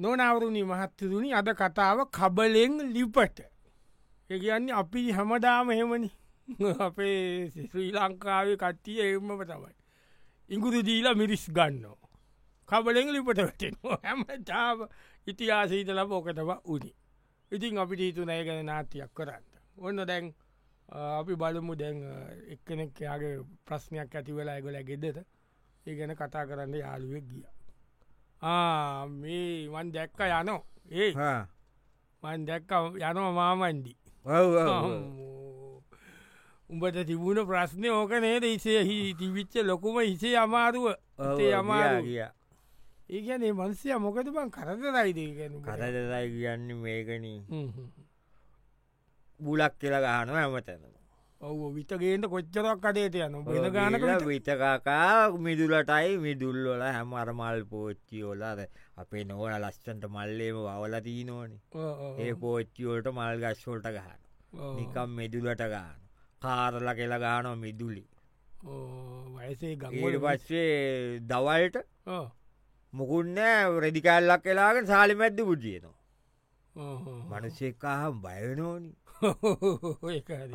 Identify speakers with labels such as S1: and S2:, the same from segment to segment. S1: නොනවරුණි මහත්තතුනි අද කතාව කබලෙන් ලිපට එකන්න අපි හැමදාම එහෙමනි අපේ ශ්‍රී ලංකාවේ කට්ටිය එම තමයි ඉංගුරු දීලා මිරිස් ගන්නෝ කබලෙන් ලිපට වැටෙනවා හැමතාව ඉතිහාසීතල පෝකටව උනි ඉතින් අපි ටීතුනය ගැන නාතියක් කරන්න ඔන්න දැන් අ, අපි බලමු දැන් අ, එක්කෙනෙක් එයාගේ ප්‍රශ්නයක් ඇතිවෙලා ඇගොල ගෙදට ඒ ගැන කතා කරන්න යාළුවෙක් ගිය ආ, මේ වන් දැක්ක යනෝ ඒ
S2: හා.
S1: මන් දැක්ක යනවා මාමන්ඩි
S2: ඔව්, ඔව්, ඔව්.
S1: උඹට තිබුණ ප්‍රශ්නය ඕක නේද ඉසේ හි තිවිච්ච ලොකුම ඉසේ අමාරුව
S2: ඔව්,
S1: ඉතේ
S2: ඔව්, ගියා,
S1: අමාරු
S2: ගියා.
S1: ඒගැනේ මන්සය මොකද බන් කරදරයිදගැන
S2: කරදරයි කියන්න මේකන බුලක් කියලා ගහන ඇමතන
S1: ඔව විතගේට කොච්චරක් අඩේට යන බෙද ගානක
S2: විතකාකා මිදුලටයි මිදුල්වල හැම අරමල් පෝච්චියෝලාද අපේ නොවන ලස්සන්ට මල්ලේම වවලදී නෝනි ඒ පෝච්චියෝට මල් ගස්වෝල්ට ගහන නිකම් මිදුලට ගාන කාරල කෙලා ගාන මිදුලි
S1: වයසේ
S2: ඊට
S1: ගංගල
S2: පස්සේ දවල්ට මුකුන්න රෙඩිකල්ලක් කලාගෙන සාලි මැද්ද පුද්ියනවා මනුසේකාහම් බයනෝනි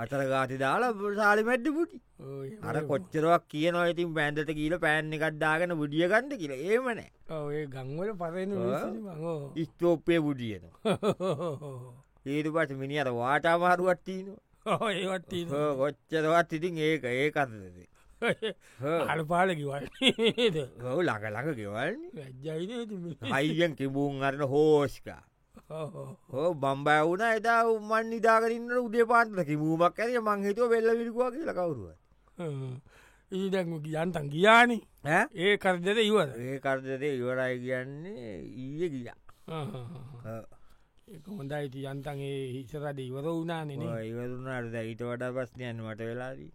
S2: අතර ගාති දාලා සාලි මැද්ද පුටි අර කොච්චරක් කියන ඉතින් බැන්දට කියීල පෑන් එකක්දාගෙන බුඩිය ගන්ද කියල ඒමනෑ
S1: ඔඒ ගංවල පරෙන
S2: ඔව්. ස්තෝපය බුඩියනවා ඒට පට මිනි අර වාටාමාරුවත්තිීනවා
S1: ඒවත්
S2: කොච්චරවත් ඉතින් ඒක ඒකතද
S1: අර පාල කිවල්
S2: හව ලඟලඟ ගෙවල්න්නේ
S1: වැජ්ජයින
S2: අයිගෙන් කිබුන් අරන හෝෂ්කා හෝ බම්බය වුණ එදා උමන් නිදාගරන්න උදේ පාන්තල කිබූමක් ඇරය මංහිතුව වෙල්ල විරිකවා කියල කවරුව
S1: ඉදැන් කියන්තන් ගියානි ඒ කරදද ඉවද
S2: ඒ කර්දද ඉවරයි කියන්නේ ඊය ගිය
S1: හොඳයි ති යන්තන් ඒ හිසරට ඉවර වුණානන
S2: ඉවරුණට දැයිට වඩා පස්නයන් මට වෙලාදී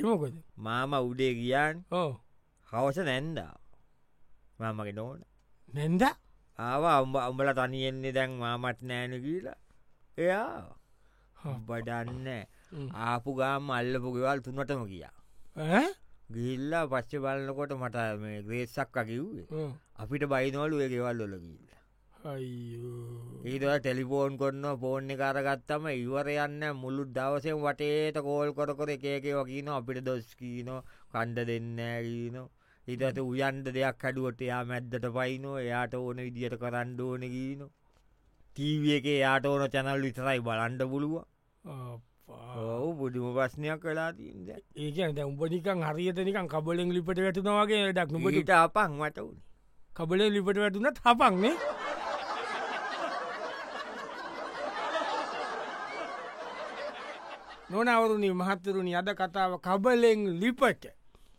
S1: එමකොද
S2: මාම උඩේ ගියන්
S1: ඕ
S2: හවස නැන්දා මාමගේ නෝන
S1: නැන්ද
S2: ආවා අම්බ අම්ඹල තනියෙන්නේ දැන් මාමත් නෑන කියලා එයා බඩන්න ආපු ගාම අල්ලපු ගෙවල් තුන්නටම ගියා ගිල්ලා පස්්ච බලන්නකොට මට මේ ග්‍රේසක් අකිව්වේ අපිට බයිනෝලු ඒ ගෙවල් ොල ගිල්ල ඒද ටෙලිෆෝන් කොන්න පෝර්ණි කාරගත්තම ඉවර යන්න මුළු දවසෙන් වටේට කෝල් කොරකොර එකේ වකින අපිට දොස්කීනෝ කණ්ඩ දෙන්න ඇරීන ඉතට උයන්ට දෙයක් හැඩුවට එයා මැද්දට පයිනෝ එයාට ඕන විදිහට කරන්න ඕන ගීන ටීව එක යාට ඕන චැනල් විතරයි බලන්ඩ පුළුව ඔවු බුදුම ප්‍රශ්නයක් කලා තිීන්ද
S1: ඒක ඇ උඹනිකන් හරිතනිකන් කබලෙන් ලිපට වැටනවාගේ ඩක් නොබට
S2: නොබට අපන් මට වුණ
S1: කබලේ ලිපට වැටුනත් හපක්නේ නොනවරුණි මහත්තරුණි අද කතාව කබලෙෙන් ලිපට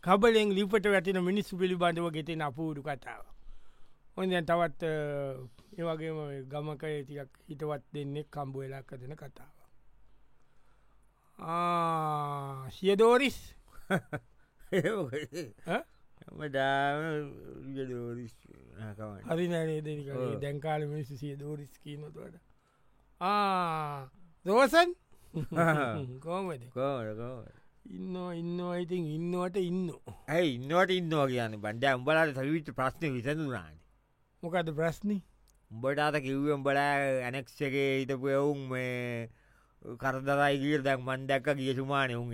S1: කබලෙෙන් ලිපට වැටින මිනිස්සු පිළිබඳව ගෙතෙන අපූරු කතාව. හොඳ තවත් ඒවගේම ගමක ඒතික් හිටවත් දෙන්නේ කම්බු වෙලා කරන කතාව. සියදෝරිස් ඈ?
S2: මඩාම දෝරිස් කවන්න
S1: හරි නෑනේ දෙනික
S2: ඔව්.
S1: දැන්කාල මිනිස්සු සිය දෝරිස් කීනතුවට දෝසන් කෝමද
S2: කෝරකෝ
S1: ඉන්න ඉන්න අයිතින් ඉන්නවට ඉන්න
S2: ඇයි ඉන්නවට ඉන්නවා කියන්න බන්ඩ උඹලට සවිවිච් ප්‍රශ්න විසඳුනාන
S1: මොකද ප්‍රශ්නි
S2: උඹටාත කිව්වම් බල ඇනෙක්ෂගේ හිතපු එවුන් මේ කරදරයි ගීර දැක් මන්දැක්ක ගිය සුමානය උන්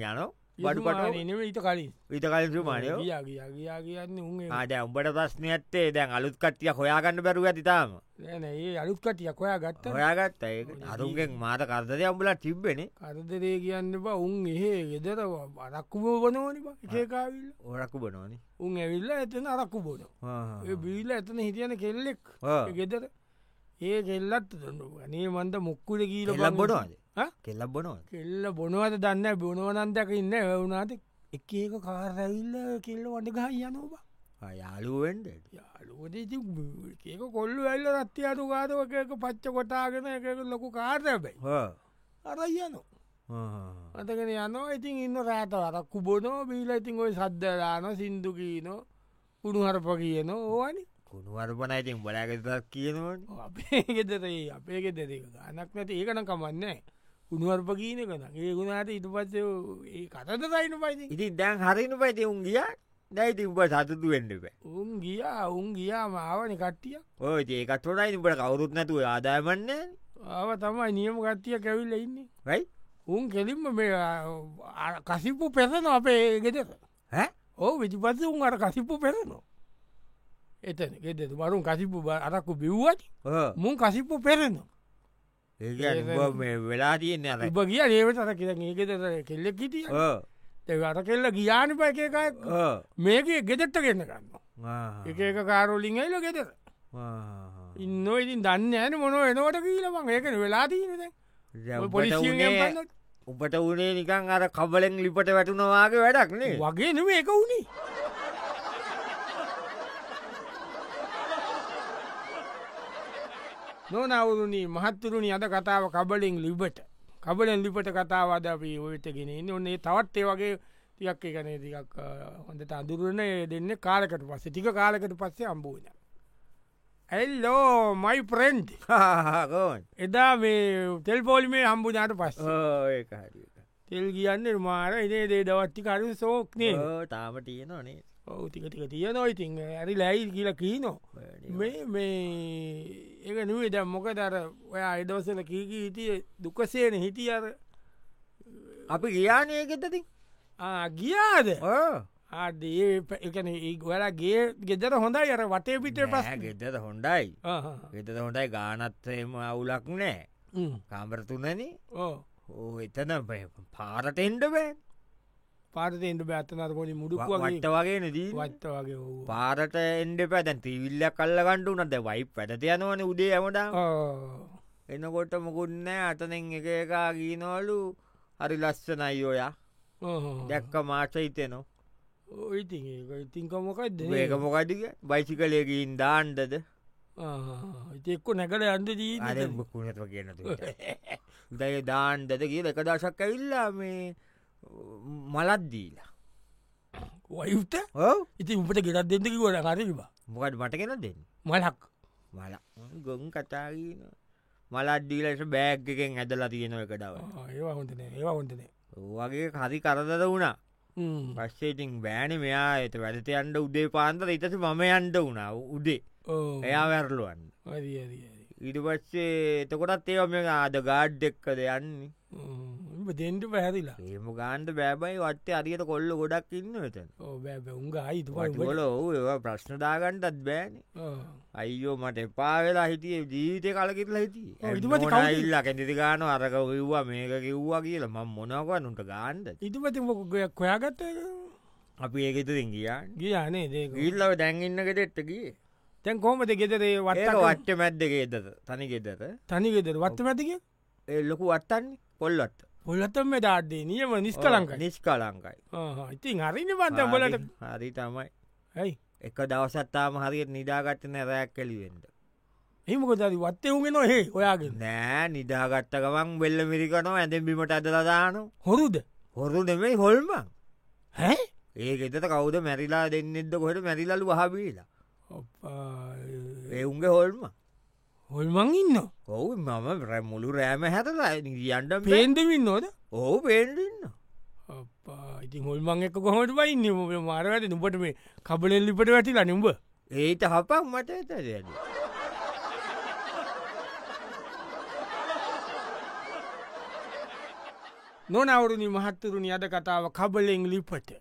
S2: යන බඩු පට
S1: නෙම ඊට කලින්
S2: විත කල සුමානය
S1: ගියා ගියා ගියා කියන්න උන්ගේ
S2: ආට උඹට ප්‍රශ්න ඇත්තේ දැන් අලුත් කට්ටිය හොයාගන්න බැරුව ඇතිතාම
S1: නෑ නෑ, ඒ අලුත් කටියක් ඔයා ගත්ත
S2: හොයාගත්ත ඒ අරුන්ගෙන් මාත කරදරය උඹල තිබ්බෙන
S1: කරදරේ කියන්න බ උන් එහේ ගෙදර අරක්කුම වනෝනි ඒකාවිල්ල
S2: ඕරක්කු බනෝනි
S1: උන් ඇවිල්ල ඇතන අරක්කු බොන බීල ඇතන හිටියන කෙල්ලෙක් ඒ ගෙදර ඒ කෙල්ලත් දන්නවා නේ මන්ද මුක්කුල කීල
S2: කෙල්ලක්
S1: බං.
S2: බොනවාද
S1: ඈ?
S2: කෙල්ලක් බොනවාද
S1: කෙල්ල බොනවද දන්න බොනවනන්දක ඉන්න වැවුණනාට එක ඒක කාරැවිල්ල කෙල්ල වඩගහ යනවා
S2: යාලුවෙන්ට
S1: යාලෝදේ ඒක කොල්ලු ඇල්ල රත්ති අතු ගාතක පච්ච කොටාගෙන එක ලොකු කාර්යැබැයි අරයි යන අතගෙන යනවා ඉතින් ඉන්න රෑත වරක්කු බොනෝ බීල ඉතින් ඔය සද්ධදාන සින්දු කියීනෝ උුණු හරප කියන ඕනි
S2: කුණුවරපන ඉතින් බලගතක් කියනවන
S1: අපේ ගෙදරේ අපේ ගෙදර ගනක් නැති ඒකන කමන්නේ උුණුවරප කියීනකන ඒ ගුණට ඉතු පස්සේ ඒ කතද සයින පයිති
S2: ඉතින් දැන් හරිනු පැති උන් ගිය දැයිති උඹ සතුතු වෙන්නබේ
S1: උන් ගියා උන් ගියා මාවනි කට්ටිය
S2: ඕ ඒකත් හොටයි උඹට කවුරුත් නැතුව ආදායමන්න
S1: ආව තමයි නියම කට්ටිය කැවිල්ල ඉන්නේ
S2: රයි
S1: උන් කෙලින්ම මේ අර කසිප්පු පෙසන අපේ ගෙදර
S2: හැ
S1: ඕ විජිපස උන් අර කසිප්පු පෙරනවා එතන ගෙදෙතු මරුන් කසිප්පු බ- අරක්කු බිව්වට මුන් කසිප්පු පෙරෙනවා
S2: ඒ මේ වෙලා තියන්නේ අර
S1: ඉබ ගිය ඒවට අර කිය ඒ ගෙදර කෙල්ලෙක් හිටිය
S2: ඕ,
S1: අර කෙල්ල ගියාන පයකය
S2: ඕ.
S1: මේක ගෙදෙට්ට ගන්න ගන්න
S2: ආ,
S1: එක එක කාරෝලින් ඇල ගෙදර
S2: ආ.
S1: ඉන්න ඉතින් දන්න ඇන මොන එනවට කියීලමං ඒකන වෙලාදීනද
S2: දැන් උඹට
S1: පොලිසිය
S2: උනේ- උඹට උනේ නිකන් අර කබලෙන් ලිපට වැටුණවාගේ වැඩක් නේ
S1: වගේ නෙම එක වුණේ නොනවුරුණී මහත්තුරුණි අද කතාව කබලෙන් ලිබට කබලෙන් ලිපට කතාවද අපි ඔයටගෙන ඉන්න ඔන්නේ තවත් ඒ වගේ තියක් එකන තික් හොඳට අඳුරන දෙන්න කාලකට පස්සේ ටික කාලකට පස්සේ අම්බූන ඇල්ලෝ මයි ප්‍රෙන්්
S2: හාහාකෝන්.
S1: එදා මේ තෙල් පෝලිමේ හම්බුනාට පස්ස
S2: ඕ, ඒක හරි.
S1: තෙල් කියන්න මාර ඉනේ දේ දවත්ති කරු සෝක්නේ
S2: ඕ, තාම තියනනේ
S1: ඔවතිකතික තියනො ඉතින් ඇරි ලැයි කියල කීනෝ මේ මේ ඒ නුවේ දැම් මොක දර ඔයා අයිදවසල කීකී හිටිය දුකසේන හිටිය අර
S2: අපි ගියානයකෙතති
S1: ආ, ගියාද
S2: ඕ
S1: ආදේ එකන ගොලගේ ගෙදර හොඳයි අර වටේ පිටේ පස්
S2: ගෙදත හොන්ඩයි ගෙතත හොටයි ගානත්තේම අවුලක් නෑ කාමරතුනන
S1: ඕ
S2: ඕ එතන පාරටෙන්ඩබෑ
S1: පාර්තෙන්ට බැත්තනර පොලි මුඩුක් වගේ
S2: වට වගේ නදී
S1: වත්ත වගේ වූ.
S2: පාරට එන්ඩ පැදැන් තිවිල්ල කල්ල ගණ්ඩු නද වයි පැතයනවන උඩේ ඇමට
S1: ආ.
S2: එනකොට මුකුන්නෑ අතනෙන් එක එකා ගීනවලු හරි ලස්සනයි ඔයා
S1: ආ.
S2: දැක්ක මාස හිතයනවා
S1: ඔව් ඉතින් ඒක ඉතිංක මොකක්ද
S2: ඒක මොකටික බයිසිකලයකින් දාන්ඩද
S1: ඉතිෙක්කො නැකල අන්ද දී
S2: අර කුණතුව කියනතු දැය දාන්ඩද කිය එක දශක් ඇවිල්ලා මේ මලත්දීලා
S1: වයුත
S2: ඕ
S1: ඉතින් උපට ගෙටත් දෙදකි ගොඩ කරවා
S2: මොකට මටගෙන දෙන්න
S1: මලක්
S2: මල ගොන් කතාගන මලත්දීලට බෑග් එකෙන් ඇදලා තියෙනව එකටව
S1: ඒවා හොටන ඒවා හොටනේ
S2: වගේ හරි කරදද වුණා පස්සේටිං බෑන මෙයා ඇත වැඩත අන්ඩ උඩේ පාන්තර ඉතස මම අන්ඩ වුණා උඩේ එයා වැරලුවන්න ඉඩ පස්සේ එතකොටත් ඒව මේ ආද ගාඩ් එක්කද යන්නේ
S1: දෙන්ට පැහැදිලා
S2: ඒම ගාන්ඩ බෑබයි වත්තේ අරියට කොල්ල ගොඩක් ඉන්න වෙතන
S1: ඕබැ උන්ග අයිතු
S2: වටගොල ඔහු ඒවා ප්‍රශ්නදාගන්ටත් බෑන අයිෝ මට එපා වෙලා හිටිය ජීවිතය කලකිරලා
S1: ඔව්, ඊට
S2: හිටිය
S1: පස්සේ කවුද?
S2: ඉල්ලා කැඳති ගාන අරක කිව්වා මේක කිව්වා කියලා ම මොනකව නුට ගාන්ඩ
S1: ඉතුපති මොකගයක් කොයාගත්ත
S2: අපි ඒකෙතුරින් ගියාන්
S1: ගියානේ දේක
S2: ඉල්ලව දැන්ඉන්නකට එට්ටකි
S1: තැන් කෝමද ගෙදරේ
S2: ඒක
S1: වට
S2: වට්ට මැද්දක එදත තනි ගෙදර
S1: තනිගෙදර වත්ත මැතික
S2: ඒ ලොකු වට්ටන්නේ කොල්ලොත්
S1: පොල්ලතම ඩාඩ්ඩේ නියම නිස්කලංකයි
S2: නිස්කලංකයි
S1: ඉතින් හරිනි පන්ත බලට
S2: හරි- හරි තමයි
S1: ඇයි
S2: එක දවසත්තාම හරියට නිදාගත්ත නැරයක් කෙලිවෙන්ට
S1: ඒමකොදරි වත්තයවුගෙන නොහේ ඔයාගෙන
S2: නෑ නිදාගත්තකවන් වෙල්ල මිරිකනෝ ඇඳෙන්බිමට ඇදලදානු
S1: හොරුද
S2: හොරු දෙමයි හොල්ම
S1: හැ
S2: ඒක එතත කවුද මැරිලා දෙන්නෙද කොට මැරිලලු වහබීලා එවුන්ගේ හොල්ම
S1: හොල්මං ඉන්න
S2: ඔවු මම රැ- මුළු රෑම හැතලා නිියන්ඩ
S1: පේන්දවින්න නෝද
S2: ඔහු පේඩන්න
S1: ඉතින් හොල්මං එක කොහොට පයින්න මාර වැට නුපට මේ කබලෙන් ලිපට වැටිලා නිඹ
S2: ඒට හපක් මට ඇතද
S1: නොනවරුණි මහත්තුරුණි අද කතාව කබලෙෙන් ලිපට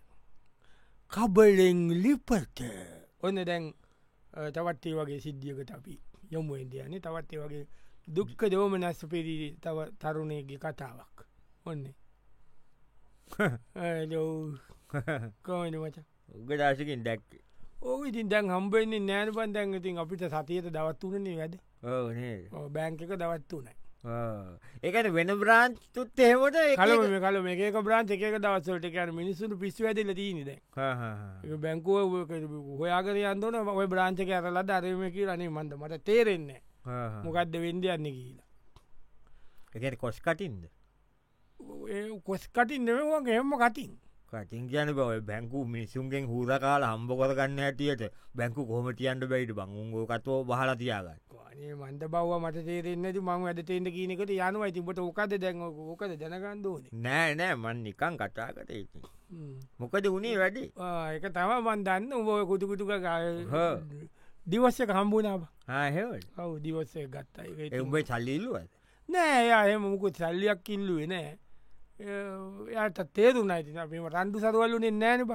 S1: කබලෙෙන් ලිපට ඔන්න දැන් අ, තවත් ඒ වගේ සිද්ධියකට අපි යොමුුවෙන්දයන්නේ තවත් ඒ වගේ දුක්ක දෝමනස්ස පෙරී තව තරුණයගේ කතාවක් ඔන්නේ කෝන මච
S2: උගදාශකින් දැක්ක
S1: ඕ ඉතින් දැන් හම්බෙන්නේ නෑන පන් දැන් ඉතින් අපිට සතියට දවත්තුනනේ වැද
S2: ඕනේ
S1: ඔව්, බැංක එක දවත්තුනයි
S2: ඒකට වෙන බ්‍රාන්්තුත් එහෙමට ඒ
S1: කලම මේ කල මේ එක බ්‍රාන්් එක දවස්සට කර මිනිසුට පිස් වැදිල දීනද බැංකුව හොයාගර අන්දන ඔය බ්‍රාංචක ඇරලා දරම කිය රනේ මන්ද මට තේරෙන්නේ මොකක්ද වෙන්ඩ යන්න කියලා
S2: එකට කොස් කටින්ද
S1: ඒ කොස් කටින් නෙමවා එහෙම කටින්
S2: කටින් කියන බව බැංකු මිනිසුන්ගෙන් හූර කාල හම්බ කරගන්න ඇටියට බැංකු කොමටියන්ට බයිට බංගුන්ගෝ කතෝ බහල තියාගන්න
S1: අනේ මන්ද බව මට තේරෙන්නද මං ඇද තේට කියනකට යනවා තිබට ඕකද දැන් ඕකද දැනගන්දෝන
S2: නෑ නෑ මන් නිකන් කටාකට ඉති මොකද වුණේ වැඩි
S1: ඒක තම මන්දන්න උබෝය කුතුකුටුක
S2: හා.
S1: දිවස්්‍ය කම්බුණාව
S2: ආහෙවල්
S1: ඔව දිවස්සය ගත්තයි
S2: එඋඹේ සල්ලිල්ලුවද
S1: නෑ එයාහෙම මුකුත් සල්ලියක් ඉල්ලුවේ නෑ එයට තේරුනයිති අපිම රන්ඩු සරුවල්ලුනේ නෑනබ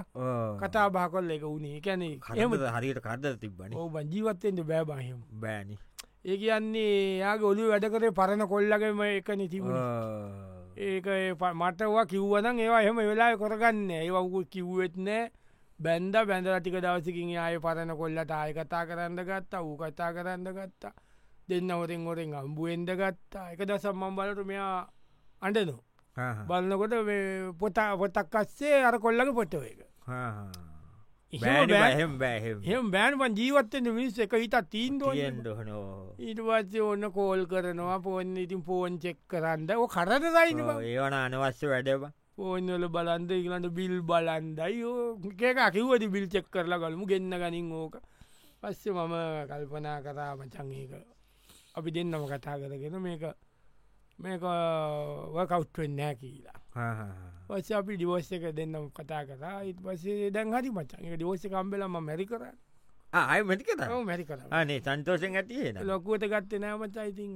S1: කතා බා කොල්ල එක වුණේ කැනෙ එම
S2: කටමද හරියට කරද තිබ්බන
S1: ඔබන් ජීවත්තෙන්ට බෑබාහෙම
S2: බෑනි
S1: ඒ කියන්නේ යාගේ ඔලු වැඩකරේ පරණ කොල්ලගම එක නිතිබුණ ඒක ඒ ප- මටවා කිව්වනම් ඒවා එහෙම වෙලා කොරගන්න ඒවකු කිව්වෙත් නෑ බැන්ද බැඳල ටික දවසකින් ආය පරණ කොල්ලට ආය කතා කරන්න ගත්තා ඌ කතා කරන්න ගත්තා දෙන්න හොරෙන් හොරෙන් අම්බුවෙන්ද ගත්තා එක දසම් මම් බලට මෙයා අඩනු බලන්නකොට මේ පොතා පොතක් අස්සේ අර කොල්ලක පොට්ටව එක එහෙම
S2: බෑහෙම් බෑහෙම්
S1: බෑන්පන් ජීවත්තෙන් මිනිස් එක හිතා තීන්දුවෙන්
S2: ියෙන්ඩොහනෝ
S1: ඉටවස්සේ ඔන්න කෝල් කරනවා පොන්න ඉතින් පෝන් චෙක් කරන්න ඕ කරටදයින
S2: ඒවන අනවශ්‍ය වැඩබ
S1: පෝනල බලන්ද ඉලට බිල් බලන්දයි ඕකක කිව්වති බිල් චෙක් කරලා ගලමු ගෙන්න්න ගනින් ඕක පස්සේ මම කල්පනා කතා මචංක අපි දෙන්නම කතා කරගෙන මේක මේක කවට්වෙන්නෑ කියලා පස්ස අපි ඩිවෝස්ස එක දෙන්නම කතා කරා ඉත් පසේ දැන් හරි මචන් එක ඩිවෝස්ස කම්බෙලම මැරි කරන්න
S2: ආය මටික
S1: මැරි කර
S2: අනේ සන්තෝෂෙන් ඇතියෙන
S1: ලොකුවට ගත්ත නෑමචා ඉතින්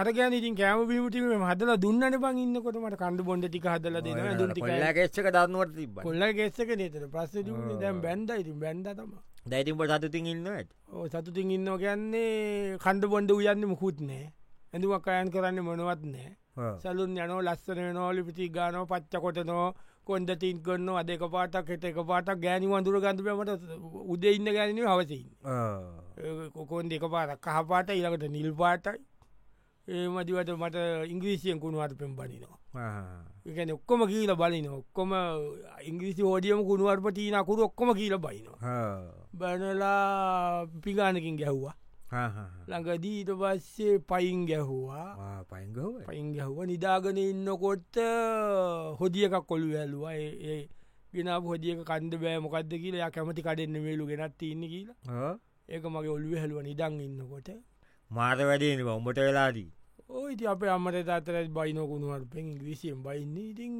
S1: අරගන ඉතින් කෑම පිමටිීම හදල දුන්නට පං ඉන්නකොට මට කණ්ඩ බොඩ ටික හදල දෙන දුන් ටික
S2: ෙච්ක දන්නුවට තිබ
S1: කොල්ල ගෙස්සක නේතට ප්‍රස්ස දැම් බැන්ඩ ඉති බැන්ඩ තම
S2: දැයිතින්ට සතුතින් ඉන්නට
S1: ඕ සතුතින් ඉන්න කියන්නේ කණ්ඩ බොන්ඩ උයන්න මුකුත් නෑ ඇඳුවක් අයන් කරන්න මොනවත් නෑ සැලුන් යනෝ ලස්සන නෝලි පිටි ගානෝ පච්චකොට නෝ කොන්ද තින් කරන්න අදක පාටක් එට එක පාටක් ගෑනි වඳුර ගන්තුපමට උදේ ඉන්න ගැනීම හවසයින්න කොකොන් දෙක පාට කහපාට ඉලකට නිල් පාටයි ඒ මදිවට මට ඉංග්‍රීසියෙන් කුණුවට පෙම් බනිනවා එකන ඔක්කොම කියීල බලන ඔක්කොම ඉංග්‍රීසි ෝඩියම කුණුවර්ප තිීනකුරු ඔක්කොම කියීල බයිනවා බැනලා පිගානකින් ගැහ්වා ළඟදී ඊට පස්සේ පයින් ගැහ්වා
S2: පයිගව
S1: පයින් ගැහ්ව නිදාගෙන ඉන්නකොට්ට හොදියකක් කොළු ඇලුවා ඒ- ඒ ගෙනප හොදියක කන්ද බෑ මොකක්ද කියලා යා කැමති කඩෙන්න්න වේලු ගෙනත් ඉන්න කියලා ඒක මගේ ඔල්ුව හැලුව නිදං ඉන්නකොට
S2: මාත වැඩෙන ඔඹට වෙලාදී
S1: ඕයිති අපේ අමට තාතරත් බයිනොකුණුවට පෙන් ඉංග්‍රීසියෙන් බයින්නේ ඉතින්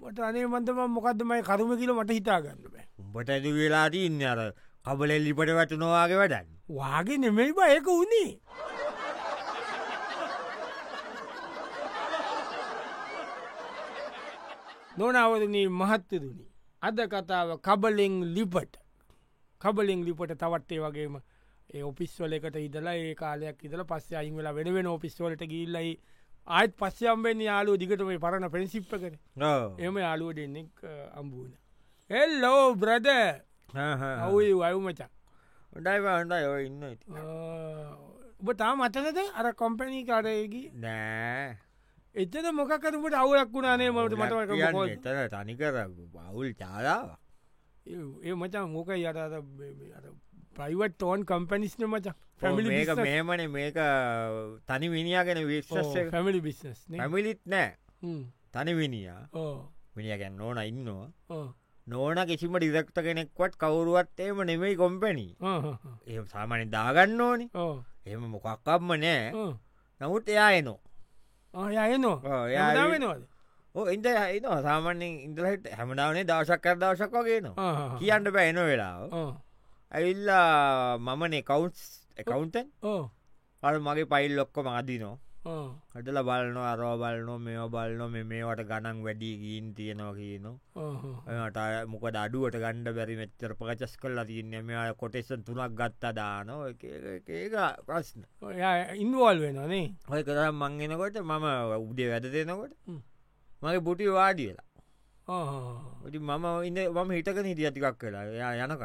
S1: මට අනේ මන්තම මොකක්දමයි කරුම කියල මට හිතාගන්න බෑ
S2: උඹට ඇති වෙලාදී ඉන්න අර කබලෙල් ලිපට වැට නොවාගේ වැඩන්න
S1: වාගේ නෙමෙයි බා ඒක වුණේ නොනවරණී මහත්තරුණි අද කතාව කබලෙෙන් ලිපට කබලෙෙන් ලිපට තවත්තේ වගේම ඒ ඔපිස්වලකට ඉදලා ඒ කාලයක් ඉදල පස්ස අයින් වෙලා වෙනවෙන ඔපිස්වලට ගිල්ලයි ආයත් පස්සයම්බෙන් යාලෝ දිගටම ඒ පරණ පෙන්සිිප්ප කර එම යාලුව දෙන්නෙක් අම්බූන එල්ලෝ බ්‍රද ඔවයි වයුමචක්
S2: ඩයිව හොඳයි ඔය ඉන්න ඉති
S1: ඔබ තාම අතනද අර කොම්පැණී කාරයකි
S2: නෑ
S1: එතන මොකකරමට අවුලක් වුණනේ මට
S2: කියන්නේ
S1: මට
S2: එතන තනිකර බවුල් චාලාව
S1: ඒ මචන් ඕක යට ප්‍රයිවට ටෝන් කම්පනිස්න මචන්
S2: මේක මෙහෙමන මේක තනි විනිියගෙන විශ්ස
S1: පැමලි බිස්නස්
S2: පැමිලිත් නෑ තනි විනිියා මිනිියගැන් නෝන ඉන්නවා නෝන කිසිම ඩිරෙක්ට කෙනෙක්වත් කවුරුවත් එම නෙමයි කොම්පැණි එ සාමාන්‍ය දාගන්න ඕනි එම මොකක්කම්ම නෑ නමුත් එයා එනෝ
S1: යයනෝ
S2: ඔව්, එයා ඇවිත්-
S1: වෙනවාද
S2: ඕ ඉද හින සාමාන්‍යෙන් ඉඳලට හැමදාවනේ දවශක් කර දවශක් වගේනවා කියන්න බෑ එන වෙලාව ඇවිල්ලා මමනේ කවුන්ස් එකකවුන්ටන් අර මගේ පයිල් ලොක්කො මදිනෝ හටල බලනො අරෝ බලනො මෙෝ බලනො මෙ මේවට ගණන් වැඩි ගීන් තියෙනවා කියනවා ඔට මොක අඩුවට ගණඩ බැරි මෙච්චර පකචස් කල්ලා තියන්න මෙයා කොටෙසන් තුනක් ගත්තා දානෝ එක- එක ඒක ප්‍රශ්න
S1: ඉන්වල් වෙනනේ
S2: හොය කරම් මංගෙනකොට මම උඩේ වැඩ දෙනකොට
S1: හ්ම්.
S2: මගේ පුටි වාඩියලා ටි මම ඉන්න මම හිටක හිටිය ටිකක් කලා එයා යනකම්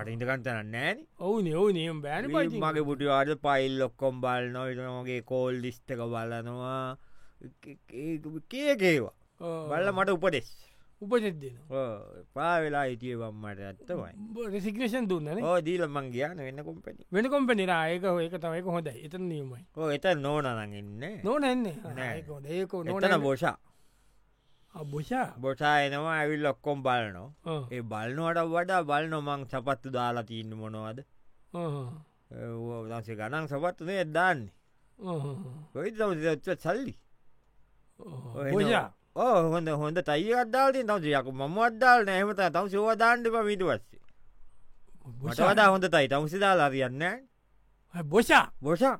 S2: මට ඉටකන්තන නෑන
S1: ඔවු නෝ නියම් බෑන ප
S2: මගේ පුටි වාඩ පයිල් ලොක්කොම් බලනො ඉටනගේ කෝල් ලිස්්ටක බලනවා කියකේවා බල්ල මට උපදෙස්
S1: උපජෙත් දෙනවා
S2: පා වෙලා හිටිය බම්මට ඇත්තමයි
S1: රෙසිකනේෂන් දුන්නන
S2: ඕ දීල මං ගියාන වෙන්න කොම්පැනි
S1: වෙන කොම්පනිරා ඒක ඒක තමයික හොඳයි එතන නියමයි
S2: ඕ එත නෝනනගන්න
S1: නොනන්නේ
S2: නෑ.
S1: ඒක
S2: නොතන
S1: නොන
S2: බෝෂා
S1: බොෂා
S2: බොසා එනවා ඇවිල් ලොක්කොම් බලනෝ ඒ බලනවට වඩා බලන මං සපත්තු දාලා තියන්න මොනවද දන්සේ ගනන් සපත්තුනේ එදදාන්නේ ඔයි තම ච්ච සල්ලි
S1: බොෂා
S2: ඕ හොඳ හොඳ තයි අදදාාලතින් තම යකු මම අදදාල් නෑමත තම සෝවදාන්ටම මිට වස්සේ මටවදා හොඳ තයි තමුසි දාලා තියන්න
S1: බොෂා
S2: බොෂා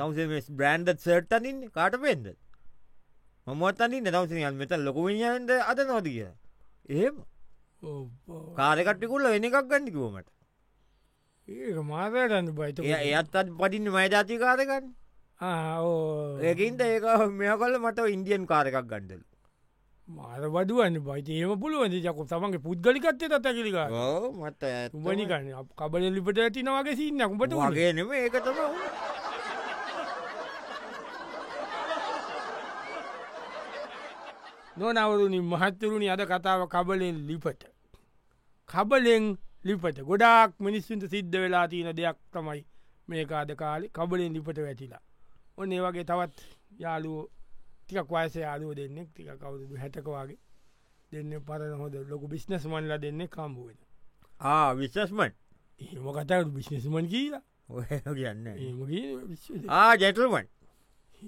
S2: තවස බ්‍රන්ඩ් සර්ටනින් කාට පෙන්ද මමත්තනින් නතවසියන් මෙත ලොකුවිනියන්ද අද නොදී කිය ඒම කාරකට්ටිකුල්ල වෙන එකක් ගන්නිකුවමට
S1: ඒ මාදරන්න බයිත
S2: එය එයත් අත් පටින්න මයජාතිකාරකන්න ඒකින්ට ඒක මෙය කොල්ල මට ඉන්දියන් කාරකක් ගණ්ඩලු
S1: මාර වඩුවන්න බයිතේම පුළුවන්ද ජකු තමන්ගේ පුද්ගලිකත්ය තැකිලික
S2: ඕ මට
S1: උබනිකන්න කබල ලිපට ඇතිනවාගේ සින්න උඹට වගේ
S2: වගේ නෙම ඒකතම
S1: නොනවරුණින් මහත්තරුණි අද කතාව කබලෙන් ලිපට කබලෙන් ලිපට ගොඩාක් මිනිස්සුන්ට සිද්ධ වෙලා තියෙන දෙයක් තමයි මේකාද කාලි කබලෙන් ලිපට වැටිලා ඔන්න ඒ වගේ තවත් යාලුවෝ ටිකක් වයස යාලුව දෙන්නෙක් ටික කවුරුදු හැටකවාගේ දෙන්න පරන හොද ලොකු බිස්්නස් මන්ලා දෙන්න කම්බුවෙන
S2: ආ විශස්මට්
S1: ඒම කතාට බිස්්නස්මන් කියලා
S2: කියන්න
S1: ඒම
S2: ආ ජැටල්මන්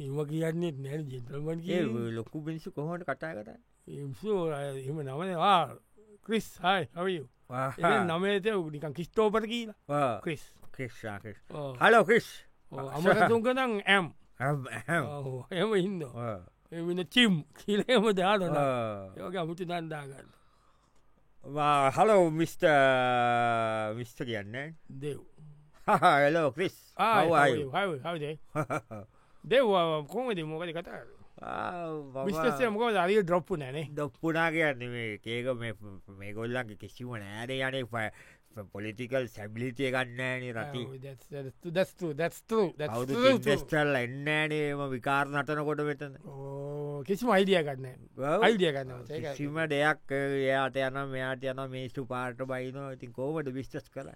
S1: ඒම කියන්නේ නැ ජෙතල්මන්
S2: ඒ
S1: කිය
S2: ලොකු පිනිසු කොහොට කටා කතා
S1: එම්සෝ එම නමනවා ක්‍රිස් හයි හවිය නමේතය නිකන් කිස්ටෝපට කියලා ක්‍රිස්
S2: ක්‍රේෂා ක්‍රේෂ්
S1: ඕ.
S2: හලෝ ක්‍රිෂ්
S1: ඕ, අමරතුන්කනං ඇම්
S2: Ah,
S1: ඕ, එහෙම ඉන්න එවින චිම් කියලේම දාලන
S2: Ah.
S1: යෝගේ අමුතු දන්දාගන්න
S2: හලෝ මිස්ට මිස්ට කියන්න
S1: දෙව්
S2: හලෝ ක්‍රිස් ආයි
S1: හවිදේ දෙව්වා කොමද මොකද කතා විිස්තය මොකද අරිය ඩොප්පු නැනේ
S2: දොප්පුනා කියන්නේ ඒක මේ ගොල්ලන්ගේ කිසිව නෑර යන පොලිටිකල් සැබිලිතිය ගන්නෑනේ රති
S1: දැස්තු දැස්තු
S2: අවුදු ටෙස්ටල් එන්නෑනේම විකාර නටන කොට වෙතන
S1: කිසිම අයිඩිය ගන්න අයිඩිය ගන්න
S2: සිම දෙයක් එයාට යන මෙයාට යන මේස්ටු පාට බයිනෝ ඉතින් කෝමට විිස්ටස් කර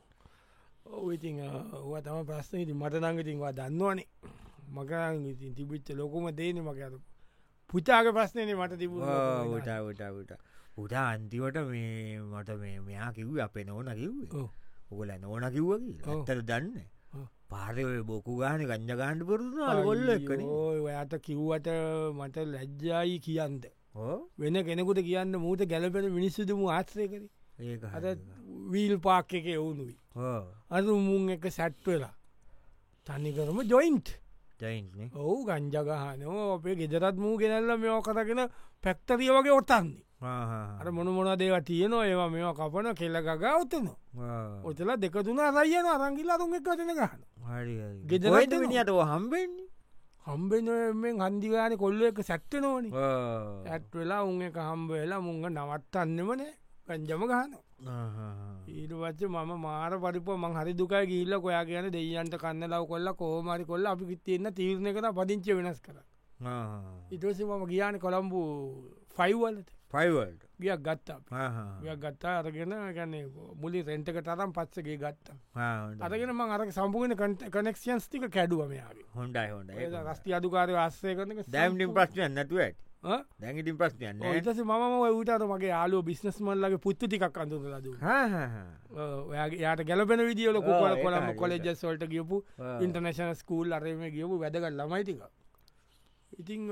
S1: ඉතින් ඔව තම ප්‍රශ්න ඉති මට නංගතින්වා දන්නවානේ මකරන් ඉතින් තිබිච්ච ලොකුම දේන මකර පුතාග ප්‍රශ්නයනේ මට තිබ
S2: ටටට උඩා අන්තිවට මේ මට මේ මෙයා කිව් අපේ නෝන කිව්ේ ඔගොල නෝන කිව්ව
S1: ඔව්.
S2: ඇත්තට දන්න
S1: ඔව්.
S2: පාරය බොකු ගාන ගංජ ගාණ්ඩ පුරුදු ගොල්ල එකන
S1: ඔයාට කිව්වට මට ලැජ්ජායි කියන්ද
S2: ඕ
S1: වෙන කෙනෙකුට කියන්න මූට ගැලපෙන මිනිස්සුදම ආශ්‍රය කර
S2: ඒක
S1: අද වීල් පාක් එක එවුණුයි අද මුන් එක සැට්වෙලා තනිකරම ජොයින්ට්
S2: ජයින්න
S1: ඔහු ගංජගහනෝ අපේ ගෙදරත් මූ ගෙනල්ල මෙෝ කරගෙන පැක්තරිය වගේ ඔටන්නේ අර මොන මොන දේවා තියනවා ඒවා මෙවා කපන කෙල්ලගග ඔතනවා ඔතලා දෙකතුන අරයන අරංගිල්ලා තුන් එක් කටන ගහන ගෙදරට
S2: ගෙදරට
S1: එනවා.
S2: විනිට හම්බෙන්නේ
S1: හම්බෙන් හන්දිගාන කොල්ල එක සැට්ටනෝනි
S2: ආ.
S1: ඇත් වෙලා උන් එක හම්බ වෙලා මුංග නවත්තන්නෙමනේ පැන්ජම ගහන
S2: ආහා.
S1: ඊටවච්ච මම මාර පරිප මං හරි දුකයි ගිල්ල කොයා කියන දෙයියන්ට කන්න ලව කොල්ල කෝමරි කොල්ල අපි තියන්න තීරණය කර පදිංච වෙනස් කර
S2: ආහා.
S1: ඉටස මම ගියාන කොළම්බු ෆයිවල්ලට
S2: පයිවල්ට
S1: ගියක් ගත්තා
S2: ආහා.
S1: ගියක් ගත්තා අරගෙන ගන්නේ මුලි රෙන්ටක තරම් පත්සගේ ගත්තා
S2: ආ, හොඳයි.
S1: අරගෙන මං අර සම්පූර්ණ කනෙක්ෂන්ස් තික කැඩුවමයාගේ
S2: හොන්ඩයි හොන්ඩ
S1: රස්ති අදුකාරය අස්සය කරන
S2: දැම්ටිම් ප්‍රශ්නයන් නැතුවට දැඟටිම් ප්‍රශ්නයන්න
S1: ඉතස මම ඌටට මගේ යාලෝ බිස්නස් මල්ලගේ පුත්තු ටිකක් අඳුරලා දුන්නා. ඔයාගේ යාට ගැලපෙන විදිියල
S2: ආ,
S1: කොල
S2: ඒක
S1: කොළම
S2: හරි,
S1: කොලෙජ සොල්ට ගියපු
S2: ආ.
S1: ඉන්ටර්නේශන ස්කූල් අරම ගියපු වැදගල් ලමයිතික ඉතිං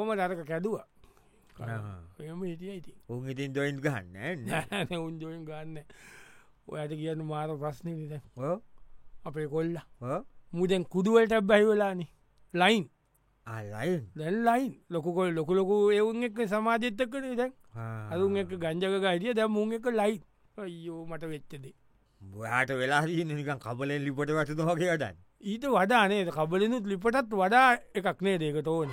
S1: හොම දරක කැදවා එම හිටිය ඉති
S2: උන් ඉතින් දොයින් ගන්න
S1: උන්ජෝයෙන් ගන්න ඔයට කියන්න මාර ප්‍රශ්නවිද අපේ කොල්ල මුදැන් කුදුවලට බැහිවෙලානි ලයින්
S2: අලයින්
S1: දැල් ලයින් ලොකුකොල් ලොකු ලොකු එවුන් එක සමාජත්තකන දැන් අරුන් එක ගංජක ගහිටිය දැ මුන් එක ලයින් අයෝ මට වෙච්චදේ
S2: බොයාට වෙලා නිකන් කබලෙන් ලිපට වැටද හොගේ අඩන්
S1: ඊට වඩානේ කබලනුත් ලිපටත් වඩා එකක් නේ දෙකට ඕන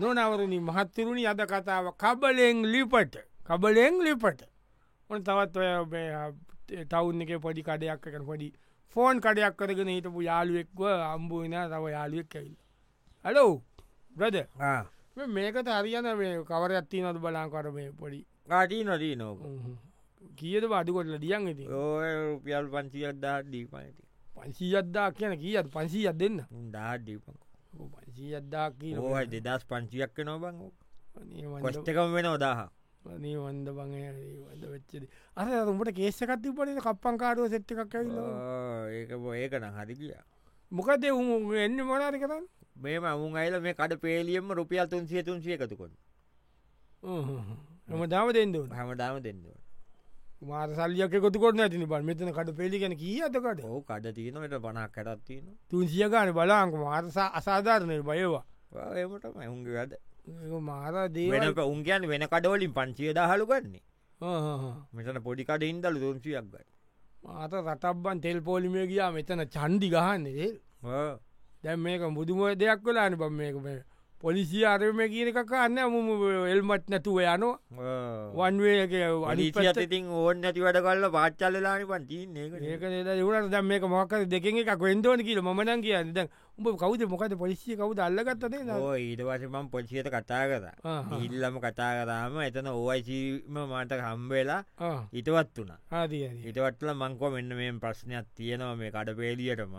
S1: නොනවරණි මහත්තරුණි අද කතාව කබලෙන් ලිපට කබලෙන් ලිපට ඔන තවත් ඔය ඔබේ, අ, ටවුන් එක පොඩි කඩයක් කර පොඩි ෆෝන් කඩයක් කරගෙන හිටපු යාළුවෙක්ව අම්බුවන තව යාළුවෙක් ඇවිල් හලෝ බ්‍රද මේක තරියන කවර ඇත්ති නොද බලාකර මේ පොඩි
S2: ආටී නොදී නෝක
S1: කියද බඩු කොටල දියන් ඇති
S2: ඕය රුපියල් පන්සිියත් දාත් දීපනති
S1: පන්සී අද්දා කියන කියත් පන්සී අදන්න
S2: උන් දාත් දීපක
S1: පන්සී අද්දා කිය
S2: ඕයි දෙදස් පංචියක් නොබං කොස්්ටකම වෙන ඔදාහ
S1: වන්ද බං වද වෙච්චද අර රුමට කේසකත් පට කප්පංකාරුව සෙට්ටි එකක් ඇවිල
S2: ඒක බො ඒක නම් හරි කියා
S1: මොකද උ එන්න මොනාද කරන්න
S2: මේ මමුන් අයිල මේ කඩ පේලියම රුපියල් තුන් සිය තුන් සිය එකතුකොට
S1: හම දාම දෙෙන්දවන
S2: හමදාම දෙන්න
S1: මාර සල්ලියක කොතුකොන්න ඇතින බල මෙතන කට පෙලිගෙන කී අතකට
S2: ඔහු කඩ තියනට පනක් කටත්තියන
S1: තුන් සියකාන බලාංක මාරසා අසාධාරණය බයවා
S2: ඒමට මැහුන්ගේ වැඩ
S1: ඒක මාර
S2: වෙන
S1: දේවල්
S2: උන්ගයන් වෙන කඩවලින් පංචිය දහලු ගන්නේ
S1: ආහා.
S2: මෙතන පොඩිකඩ ඉන්දල දුන්සියක් ගයි
S1: මාත රටබ්බන් තෙල් පෝලිමේ ගියා මෙතන චන්ඩි ගහන්නේ දැම් මේක බුදුම දෙයක් වෙලාන බම් මේක මේ පොලිසිය අරම කියන එකක් අන්න මුම එල්මත් නැතුව යනෝ වන්වේක
S2: අනිසිත් ඉතින් ඕන්න නැති වැඩ කල්ල පාච්චල්ලලානි පන්තින්නේ
S1: ඒක දවරට දැම් මේ මොක්ක දෙක එකක් වෙන්දෝන කියල මනන් කියන්න දැ උඹ කවද මොකද පොලිසිය කවුද අල්ලගත්තනේ න
S2: ඕ ඊට වශමම් පොලිසියට කතා කතා ඉල්ලම කතා කරාම එතන ඕයිසිීම මට හම්බවෙලා ඉටවත් වුණා
S1: ආදී
S2: හිටවටල මංකෝ මෙන්න මේ ප්‍රශ්නයක් තියෙනවා මේ කඩපේලියටම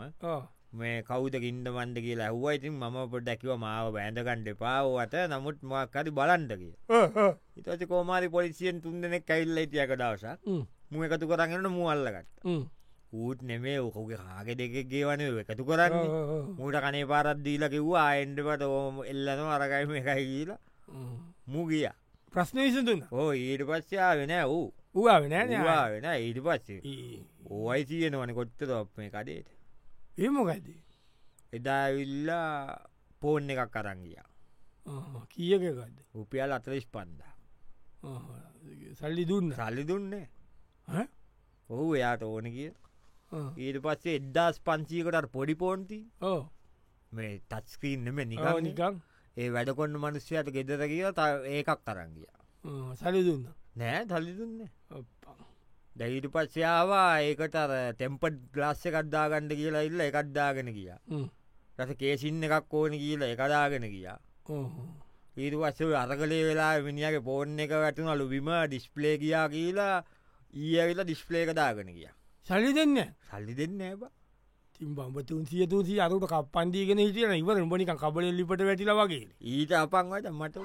S2: මේ කෞද ගින්ද මන්ද කියලා ඇහුවා ඉතින් මම පොඩ දැකිව මාව බෑඳකණ්ඩ පාවත නමුත් මක්කරි බලන්ඩ කිය ඉතච කෝමාරි පොලිසියෙන් තුන් දෙනෙක් කැල්ල ඉතියක දවසක් මුව එකතු කරගන්න මුවල්ලකට ඌත් නෙමේ ඕකගේ හාගෙ දෙකක් ගේවන එකතු කරන්නේ මූට කනේ පාරද්දීල කිව්වා ආයෙන්ඩපට ඕම එල්ලන අරගයිම එකයි කියලා මුගිය
S1: ප්‍රශ්න විසතුන්න
S2: ඕ ඊට පස්්‍යා වෙන වූ
S1: ඌාව නෑ
S2: වා වෙන ඊට පස්සේ ඕයි තියෙනවන කොත්ත තොප් මේ කඩේට
S1: ඒමොකද
S2: එදාවිල්ලා පෝන් එකක් කරංගිය
S1: කියකකද
S2: උපියල් අතරිස් පන්දා
S1: සල්ලි දුන්න
S2: සල්ලි දුන්නේ
S1: ඈ?
S2: ඔහු එයාට ඕන කිය ඊට පස්සේ එද්දාස් පංචීකට පොඩි පෝන්ති
S1: ඕ
S2: මේ තත්ස්කීන්නම
S1: ආව
S2: නිගනික
S1: නිකං ඒ
S2: ඒ වැඩකොන්න මනුස්්‍යයට ගෙදර කිය ත ඒකක් කරංගිය
S1: සලි දුන්න
S2: නෑ සල්ලි දුන්නේ දැහිට පස්සයාවා ඒකට අර තෙම්පට් ගලස්ස කද්දාගණ්ඩ කියලා ඉල්ල එකක්දාගෙන කියා රස කේසින්න එකක් ඕන කියලා එකදාගෙන කියා ඊට පස්සේ අර කලේ වෙලා මිනිියගේ පෝර්න් එක වැටුනලු විම ඩිස්පලේ කියා කියලා ඊඇවිලා ඩිස්පලේක දාගෙන කියා
S1: සලි දෙන්න
S2: සල්ලි දෙන්න ඇබ
S1: තිම් බම්බතුන් සියතුන්සි අරුට කපන්දීගෙන හිටියන ඉවර උඹනික කබල ලිපට වැටිල වගේ
S2: ඊට අපන් අට මට